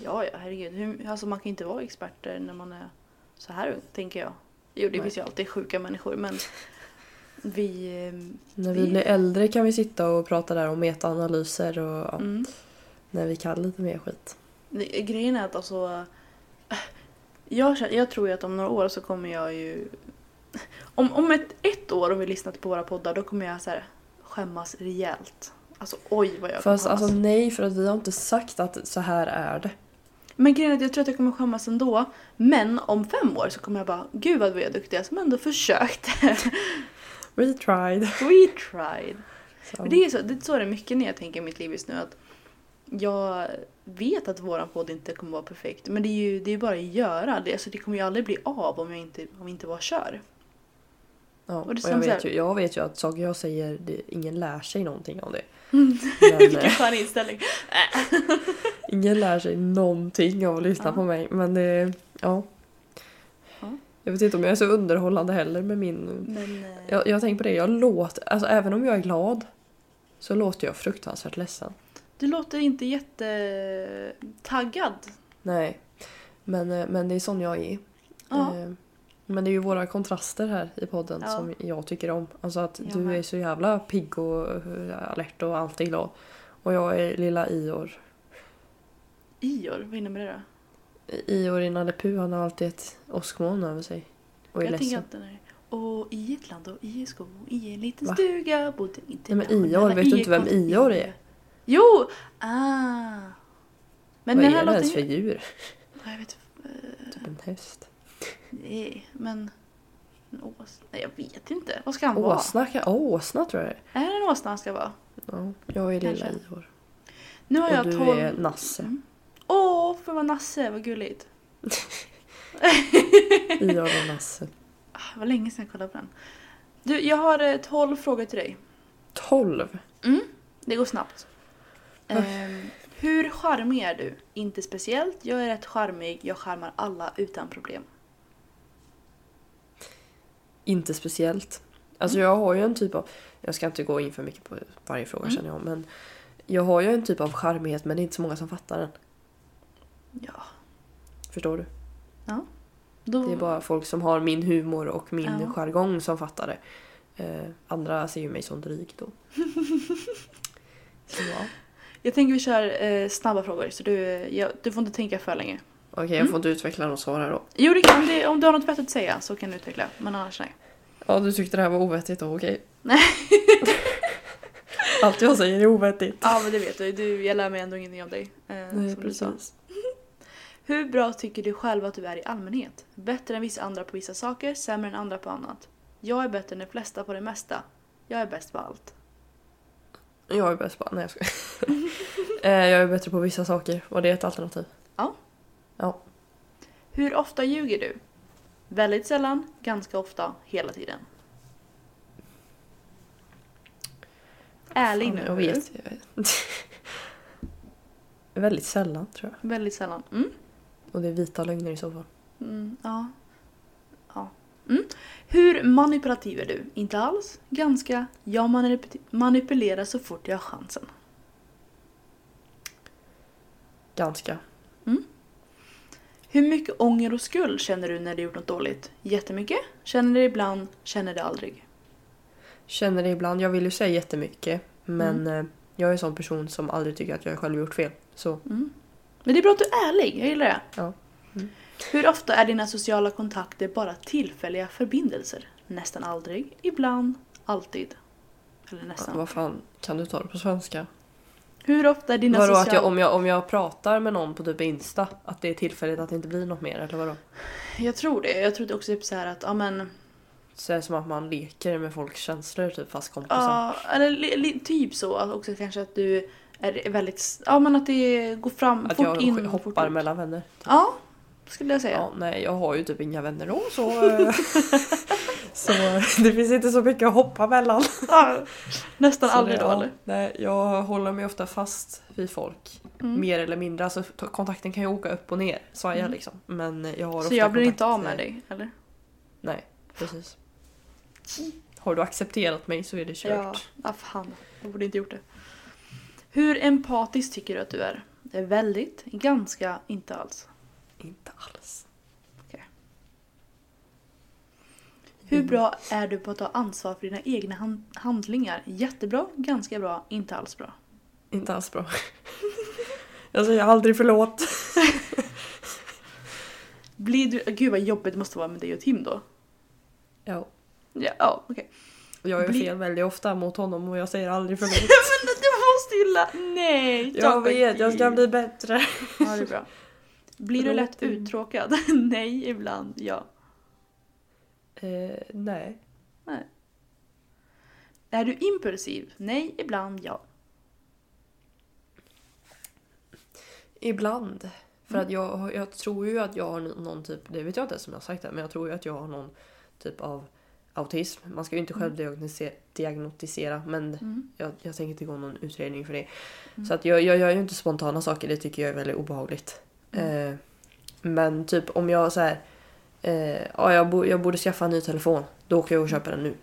S1: Ja, ja, herregud. Hur, alltså man kan inte vara experter när man är så här ung, tänker jag. Jo, det
S2: Nej.
S1: finns ju alltid sjuka människor, men vi... ehm,
S2: När vi
S1: Vi-
S2: blir äldre kan vi sitta och prata där om metaanalyser och ja,
S1: Mm.
S2: när vi kan lite mer skit.
S1: Det- Grejen är att alltså... äh, Jag, känner, jag tror ju att om några år så kommer jag ju... Om, om ett, ett år, om vi lyssnat på våra poddar, då kommer jag så här skämmas rejält. Alltså oj vad jag kommer
S2: Fast
S1: skämmas.
S2: alltså nej för att vi har inte sagt att så här är det.
S1: Men grejen är att jag tror att jag kommer skämmas ändå. Men om fem år så kommer jag bara, gud vad vi är duktiga som ändå försökte.
S2: We tried.
S1: We tried.
S2: Så.
S1: Men Det är, så, det är så det är mycket när jag tänker i mitt liv just nu. Att jag vet att våran podd inte kommer vara perfekt. Men det är ju det är bara att göra. Det, alltså, det kommer ju aldrig bli av om jag inte, om jag inte bara kör.
S2: ja, och
S1: det är som
S2: jag,
S1: så här-
S2: vet ju, jag vet ju att saker jag säger, det, ingen lär sig någonting av det.
S1: Mm.
S2: Men,
S1: Vilken
S2: eh,
S1: skön inställning.
S2: ingen lär sig någonting av att lyssna
S1: Ja.
S2: på mig. Men det, ja.
S1: Ja.
S2: Jag vet inte om jag är så underhållande heller med min...
S1: Men, eh,
S2: Jag, jag tänker på det, jag låter... Alltså även om jag är glad så låter jag fruktansvärt ledsen.
S1: Du låter inte jättetaggad.
S2: Nej. Men, eh, men det är sån jag är.
S1: Ja.
S2: Eh, Men det är ju våra kontraster här i podden
S1: Ja.
S2: som jag tycker om. Alltså att
S1: Jag
S2: du
S1: med.
S2: är så jävla pigg och eh, alert och alltid glad. Och jag är lilla Ior.
S1: Ior, vad innebär det då?
S2: Ior i Nalle Puh, han har alltid ett åskmoln över sig. Och är
S1: jag tänker
S2: ledsen.
S1: att den är... Och i ett land och i en skog och i en liten
S2: Va?
S1: stuga bodde inte...
S2: Nej, men Ior, vet du inte vem Ior är?
S1: Jo! Ah! Men
S2: Vad
S1: den
S2: är
S1: här
S2: det ens
S1: låten...
S2: för djur?
S1: Ja, Jag vet
S2: Typ en häst.
S1: Nej, men En ås? Nej, jag vet inte. Vad ska han vara?
S2: Åsna, kan- åsna tror jag det är.
S1: Är det en åsna han ska vara?
S2: Ja, jag är lilla
S1: Kanske.
S2: Ivor.
S1: Nu har
S2: Och
S1: jag
S2: du
S1: tolv... Mm.
S2: är Nasse.
S1: Åh, för vad Nasse, vad gulligt.
S2: Ivor och Nasse.
S1: Ah, Det var länge sedan jag kollade på den. Du, jag har eh, 12 frågor till dig.
S2: 12.
S1: Mm, Det går snabbt. Ehm, hur charmig är du? Inte speciellt. Jag är rätt charmig. Jag charmar alla utan problem.
S2: Inte speciellt. Alltså
S1: Mm.
S2: jag har ju en typ av... Jag ska inte gå in för mycket på varje fråga
S1: Mm.
S2: känner jag. Men jag har ju en typ av charmighet men det är inte så många som fattar den.
S1: Ja.
S2: Förstår du?
S1: Då...
S2: Det är bara folk som har min humor och min
S1: Ja.
S2: jargong som fattar det. Eh, andra ser ju mig som dryg då. Så ja.
S1: Jag tänker vi kör eh, snabba frågor så du, eh, jag, du får inte tänka för länge.
S2: Okej,
S1: Mm.
S2: jag får inte utveckla något svar här då.
S1: Jo, det kan, om, det, om du har något vettigt att säga så kan du utveckla. Men annars nej.
S2: Ja, du tyckte det här var ovettigt då, okej.
S1: Nej.
S2: Allt jag säger är ovettigt.
S1: Ja, men det vet du. du. Jag lär mig ändå ingenting av dig. Eh, som du sa. Hur bra tycker du själv att du är i allmänhet? Bättre än vissa andra på vissa saker, sämre än andra på annat. Jag är bättre än de flesta på det mesta. Jag är bäst på allt.
S2: Jag är bäst på... Nej, jag skojar. Eh, jag är bättre på vissa saker. Var det ett alternativ?
S1: Ja.
S2: Ja.
S1: Hur ofta ljuger du? Väldigt sällan, ganska ofta, hela tiden. Ärlig nu.
S2: jag vet. Jag vet. Väldigt sällan, tror jag.
S1: Väldigt sällan. Mm.
S2: Och det är vita lögner i så fall.
S1: Mm, ja. ja. Mm. Hur manipulativ är du? Inte alls, ganska. Jag manip- manipulerar så fort jag har chansen.
S2: Ganska.
S1: Hur mycket ånger och skuld känner du när du gjort något dåligt? Jättemycket? Känner det ibland? Känner det aldrig?
S2: Känner det ibland. Jag vill ju säga jättemycket. Men
S1: Mm.
S2: eh, jag är en sån person som aldrig tycker att jag själv gjort fel. Så
S1: Mm. Men det är bra att du är ärlig, jag gillar det.
S2: Ja. Mm.
S1: Hur ofta är dina sociala kontakter bara tillfälliga förbindelser? Nästan aldrig, ibland, alltid. Eller nästan.
S2: vad fan, kan du ta det på svenska?
S1: Hur ofta är dina
S2: Vadå
S1: sociala...
S2: att jag, om, jag, om jag pratar med någon på typ Insta, att det är tillfälligt att det inte blir något mer eller vadå?
S1: jag tror det. Jag trodde också typ så här att, ja men...
S2: Så är det som att man leker med folks känslor typ fast kompisar.
S1: Ja, eller li, li, typ så. Att Också kanske att du är väldigt... s- Ja men att det går fram,
S2: att
S1: fort
S2: jag
S1: in
S2: sk-
S1: och fort
S2: hoppar
S1: ut.
S2: mellan vänner.
S1: Ja, skulle jag säga.
S2: Ja, nej jag har ju typ inga vänner då så... eh, så eh, det finns inte så mycket att hoppa mellan.
S1: Ja, nästan
S2: Så
S1: aldrig
S2: det-
S1: då
S2: ja,
S1: eller?
S2: Nej, jag håller mig ofta fast vid folk.
S1: Mm.
S2: Mer eller mindre. Alltså, t- kontakten kan ju åka upp och ner, sa jag liksom. Men jag har
S1: Så
S2: ofta
S1: jag blir
S2: kontakt-
S1: inte av med dig, eller?
S2: Nej, precis. Har du accepterat mig så är det kört.
S1: ja, Ah, fan. Jag borde inte gjort det. Hur empatisk tycker du att du är? Det är väldigt, ganska, inte alls.
S2: Inte alls.
S1: Hur bra är du på att ta ansvar för dina egna han- handlingar? Jättebra, ganska bra, inte alls bra.
S2: Inte alls bra. jag säger aldrig förlåt.
S1: Blir du... ah, Gud vad jobbigt det måste vara med dig och Tim då.
S2: Ja.
S1: Ja, ja okej.
S2: Jag gör
S1: Bli-
S2: fel väldigt ofta mot honom och jag säger aldrig förlåt.
S1: Men du måste ju la... Nej!
S2: jag
S1: Jakob,
S2: vet, jag ska
S1: Tim.
S2: bli bättre.
S1: Ja, det är bra. Blir du lätt
S2: Förlåt, Tim.
S1: uttråkad? Nej, ibland. Ja.
S2: Eh, nej.
S1: Nej. Är du impulsiv? Nej, ibland ja.
S2: Ibland. För att jag, jag tror ju att jag har någon typ, det vet jag inte ens om jag har sagt det, men jag tror ju att jag har någon typ av autism. Man ska ju inte själv diagnose- diagnostisera men
S1: Mm.
S2: jag, jag tänker inte gå någon utredning för det. Så att jag, jag gör ju inte spontana saker, det tycker jag är väldigt obehagligt.
S1: Mm.
S2: Eh, men typ om jag så här, eh, ja, jag, bo, jag borde skaffa en ny telefon, då åker jag
S1: Mm.
S2: och köper den nu.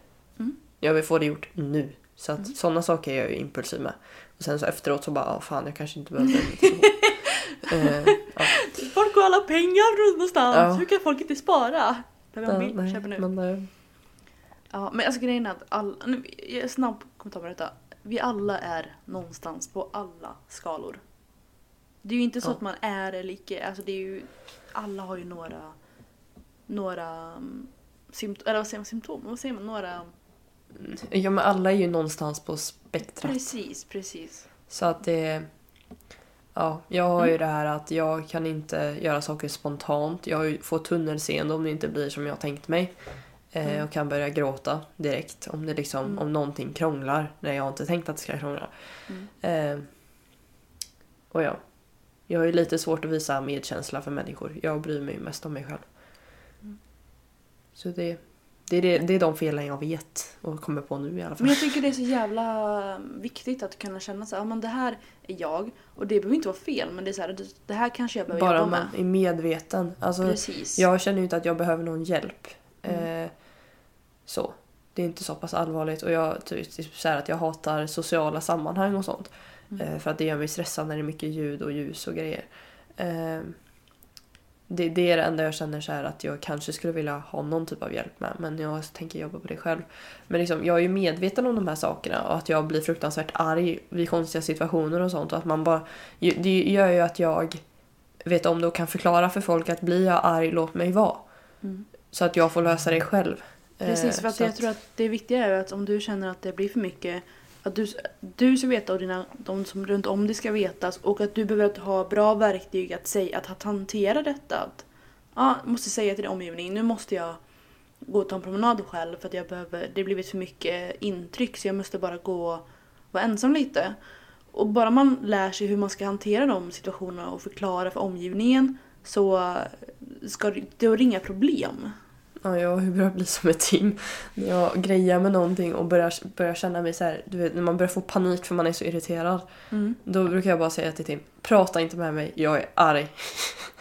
S2: Jag vill få det gjort nu. Så att sådana saker är jag ju impulsiv med. Och sen så efteråt så bara, ja fan jag kanske inte behöver en ny telefon. Eh, ja.
S1: Folk har alla pengar runt någonstans.
S2: Ja.
S1: Hur kan folk inte spara? Behöver jag en
S2: nej,
S1: bil? Köper nu.
S2: Men, eh,
S1: Ja, men alltså grejen är att alla... Nu, jag är snabb kommentar på detta. Vi alla är någonstans på alla skalor. Det är ju inte så
S2: Ja.
S1: att man är eller icke. Alltså det är ju... Alla har ju några... Några... mm, Symptom, eller vad säger man? Symptom? Vad säger man? Några...
S2: ja men alla är ju någonstans på spektrat.
S1: Precis, precis.
S2: Så att det... Ja, jag har ju det här att jag kan inte göra saker spontant. Jag har ju- får tunnelseende om det inte blir som jag tänkt mig. Eh, Och kan börja gråta direkt om, det liksom, om någonting krånglar när jag inte tänkt att det ska krångla. Eh, och ja, jag har ju lite svårt att visa medkänsla för människor. Jag bryr mig mest om mig själv. Så det, det, är det, det är de felen jag vet och kommer på nu i alla fall.
S1: Men jag tycker det är så jävla mm, viktigt att kunna känna så här, ja men det här är jag och det behöver inte vara fel men det är så här, det- det här kanske jag behöver
S2: Bara
S1: jobba
S2: om man
S1: med.
S2: är medveten. Alltså,
S1: Precis.
S2: Jag känner ju inte att jag behöver någon hjälp. Eh, så. Det är inte så pass allvarligt. Och jag typ, typ så här att jag hatar sociala sammanhang och sånt. Eh, för att det gör mig stressad när det är mycket ljud och ljus och grejer. Eh, det, det är det enda jag känner så här att jag kanske skulle vilja ha någon typ av hjälp med. Men jag tänker jobba på det själv. Men liksom, jag är ju medveten om de här sakerna och att jag blir fruktansvärt arg vid konstiga situationer och sånt. Och att man bara, ju- det gör ju att jag vet om det och kan förklara för folk att blir jag arg, låt mig vara. Så att jag får lösa det själv.
S1: Mm. Precis, för
S2: Eh,
S1: att
S2: så
S1: jag tror att det viktiga är ju att om du känner att det blir för mycket att du, du ska veta och dina, de som runt om dig ska vetas och att du behöver ha bra verktyg att, säga, att, att hantera detta. Att, ja, måste säga till din omgivning, nu måste jag gå och ta en promenad själv för att jag behöver, det har blivit för mycket intryck så jag måste bara gå och vara ensam lite. Och bara man lär sig hur man ska hantera de situationerna och förklara för omgivningen så ska det, det är inga problem.
S2: Ja, jag hur börjar bli som ett team. När jag grejar med någonting och börjar, börjar känna mig så här, du vet, när man börjar få panik för man är så irriterad.
S1: Mm.
S2: Då brukar jag bara säga till Tim, prata inte med mig, jag är arg.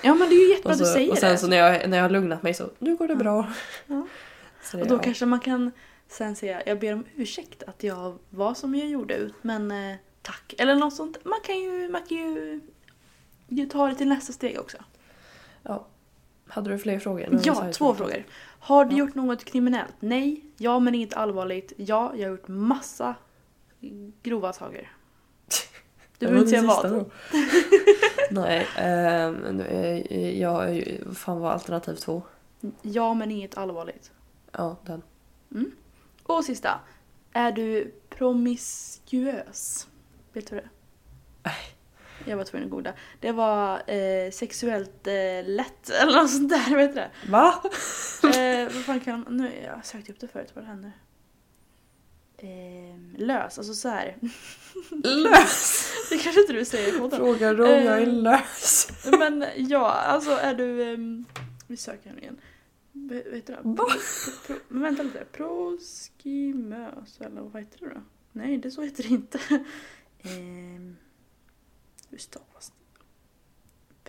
S1: Ja men det är ju jättebra
S2: och så,
S1: att du säger
S2: och sen
S1: det.
S2: så när jag, när jag har lugnat mig så, nu går det bra. Så det,
S1: Och då
S2: ja.
S1: kanske man kan sen säga jag ber om ursäkt att jag var som jag gjorde men eh, tack. Eller något sånt. Man kan ju, man kan ju, ju ta det till nästa steg också.
S2: ja. Hade du fler frågor?
S1: Ja, två frågor. Har du gjort något kriminellt? Nej. Ja, men inget allvarligt. Ja, jag har gjort massa grova saker. Du behöver inte säga vad.
S2: Nej, ehm, nu är- jag, är ju- fan var alternativ två?
S1: Ja, men inget allvarligt.
S2: Ja, den.
S1: Och sista. Är du promiskuös? Vet du det? Jag var tvungen att googla. Det var eh, sexuellt eh, lätt eller något sånt där, vet du det?
S2: Va?
S1: Eh, vad fan kan Nu, jag sökte upp det förut, vad det hände? Eh, lös, alltså så här.
S2: Lös!
S1: Det kanske inte du säger i podden.
S2: Frågar du om jag är
S1: Eh.
S2: lös?
S1: Men ja, alltså är du... ehm, vi söker här nu igen. Vad vad heter det?
S2: Va?
S1: Pro- Pro, men vänta lite. Proskimös eller vad heter det då? Nej, det så heter det inte. Ehm, hur stavas det?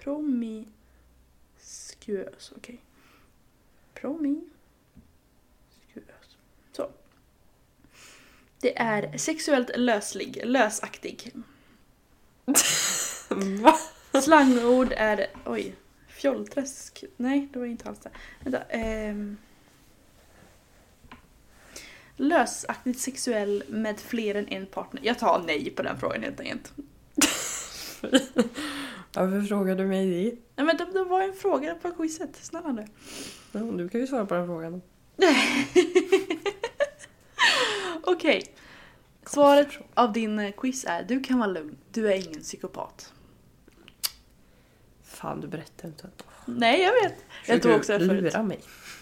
S1: Promiskuös, okej. Promiskuös. Så. Det är sexuellt löslig, lösaktig.
S2: Va?
S1: Slangord är... Oj. Fjollträsk. Nej, det var inte alls det. Vänta. ehm. lösaktigt sexuell med fler än en partner. Jag tar nej på den frågan helt enkelt.
S2: Varför frågar du mig det?
S1: Nej men det, det var en fråga på quizet. Snälla nu.
S2: Ja, du kan ju svara på den frågan.
S1: Okej. Svaret av din eh, quiz är du kan vara lugn. Du är ingen psykopat.
S2: Fan, du berättar inte.
S1: Nej, jag vet. Jag tog också det
S2: Försöker du
S1: förut.
S2: lura mig.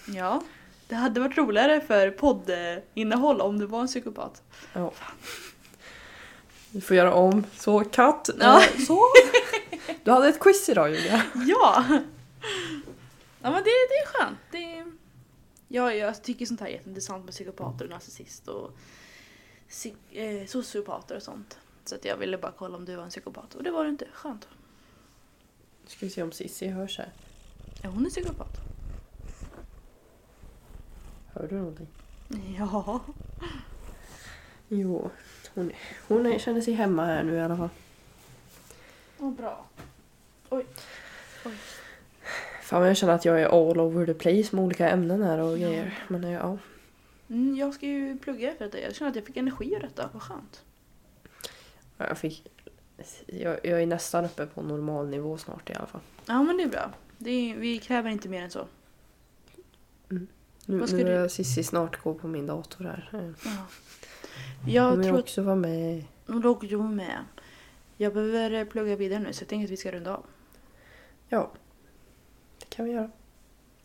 S1: Ja. Det hade varit roligare för poddinnehåll om du var en psykopat.
S2: Ja. Vi får göra om. Så, katt.
S1: Ja.
S2: Eh, Så. Du hade ett quiz idag Julia.
S1: Ja! Ja men det, det är skönt. Det är... Ja, jag tycker sånt här är jätteintressant med psykopater och narcissist och psy- eh, sociopater och sånt. Så att jag ville bara kolla om du var en psykopat och det var du inte. Skönt.
S2: Nu ska vi se om Cissi hörs här.
S1: Är hon en psykopat?
S2: Hör du någonting?
S1: Ja.
S2: Jo, hon, hon är, känner sig hemma här nu i alla fall.
S1: Vad bra.
S2: Fan jag känner att jag är all over the place med olika ämnen här och grejer. Men eh, ja.
S1: Mm, jag ska ju plugga efter detta. Jag känner att jag fick energi av detta. Vad skönt.
S2: Ja, Jag fick... Jag, jag är nästan uppe på normal nivå snart i alla fall.
S1: Ja men det är bra. Det är, vi kräver inte mer än så.
S2: Nu,
S1: Vad ska
S2: nu
S1: du-
S2: är Cissi snart gå på min dator här. Eh,
S1: Ja. Jag
S2: Kommer
S1: tror
S2: jag
S1: att
S2: också vara med?
S1: nog jag med. Jag behöver eh, plugga vidare nu så jag tänker att vi ska runda av.
S2: Ja. Det kan vi göra.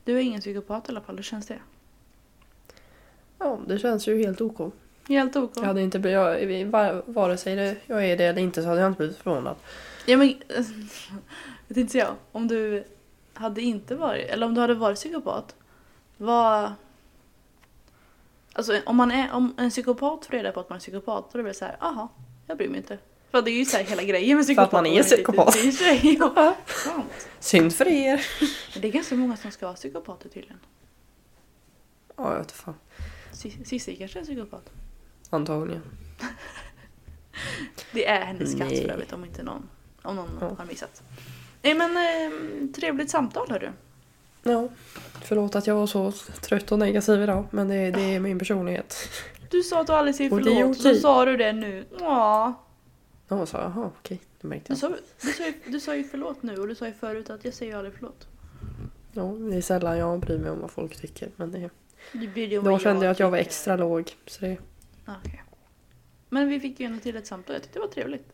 S1: Du är ingen psykopat i alla fall, hur känns det?
S2: Ja, det känns ju helt OK.
S1: Helt OK.
S2: Jag hade inte blivit, jag, var- vare sig det, jag är det eller inte så hade jag inte blivit förvånad.
S1: Ja men, vet inte jag. Om du hade inte varit, eller om du hade varit psykopat. Vad... Alltså om, man är, om en psykopat får reda på att man är psykopat då är det väl såhär, aha, jag bryr mig inte. För det är ju så här hela grejen med
S2: För
S1: psykopat.
S2: att man är psykopat.
S1: Det är sig. Ja, sant.
S2: Synd för er!
S1: Men det är ganska många som ska vara psykopater tydligen.
S2: Ja, jag vet fan.
S1: Cis- Cissi kanske är psykopat.
S2: Antagligen.
S1: Det är hennes katt
S2: Nej.
S1: för övrigt om inte någon, om någon
S2: Ja.
S1: har missat. Nej men eh, trevligt samtal hördu.
S2: Ja, förlåt att jag var så trött och negativ idag men det, det är min personlighet.
S1: Du sa att du aldrig säger
S2: Och det är
S1: förlåt och så
S2: okej.
S1: sa du det nu. Ja.
S2: Ja, så jaha okej, det märkte
S1: Du
S2: jag.
S1: sa, du, sa ju, du sa ju förlåt nu och du sa ju förut att jag säger ju aldrig förlåt.
S2: Ja, det är sällan jag bryr mig om vad folk tycker men det,
S1: Du bjöd ju om
S2: då
S1: vad
S2: kände jag att jag var
S1: tycker.
S2: extra låg. Så det,
S1: Ja, okej. Men vi fick ju ändå till ett samtal. Jag tyckte det var trevligt.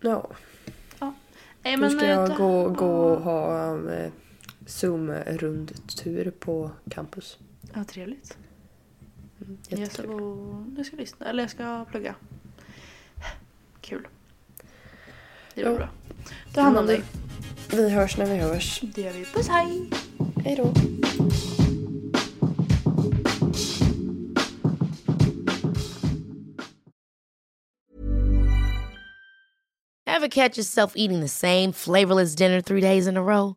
S2: ja.
S1: Nej,
S2: Nu
S1: men,
S2: ska
S1: eh, ta-
S2: jag gå, gå och ha en Zoom-rundtur på campus. Mm,
S1: Ja, trevligt. Jag ska
S2: Jättekul.
S1: gå... Jag ska lyssna. Eller jag ska plugga. Kul. Det blir
S2: Ja.
S1: bra. Ta hand om
S2: Men
S1: dig.
S2: Vi hörs när vi hörs.
S1: Det gör vi. Puss hej!
S2: Hej då.
S3: Ever catch yourself eating the same flavorless dinner three days in a row?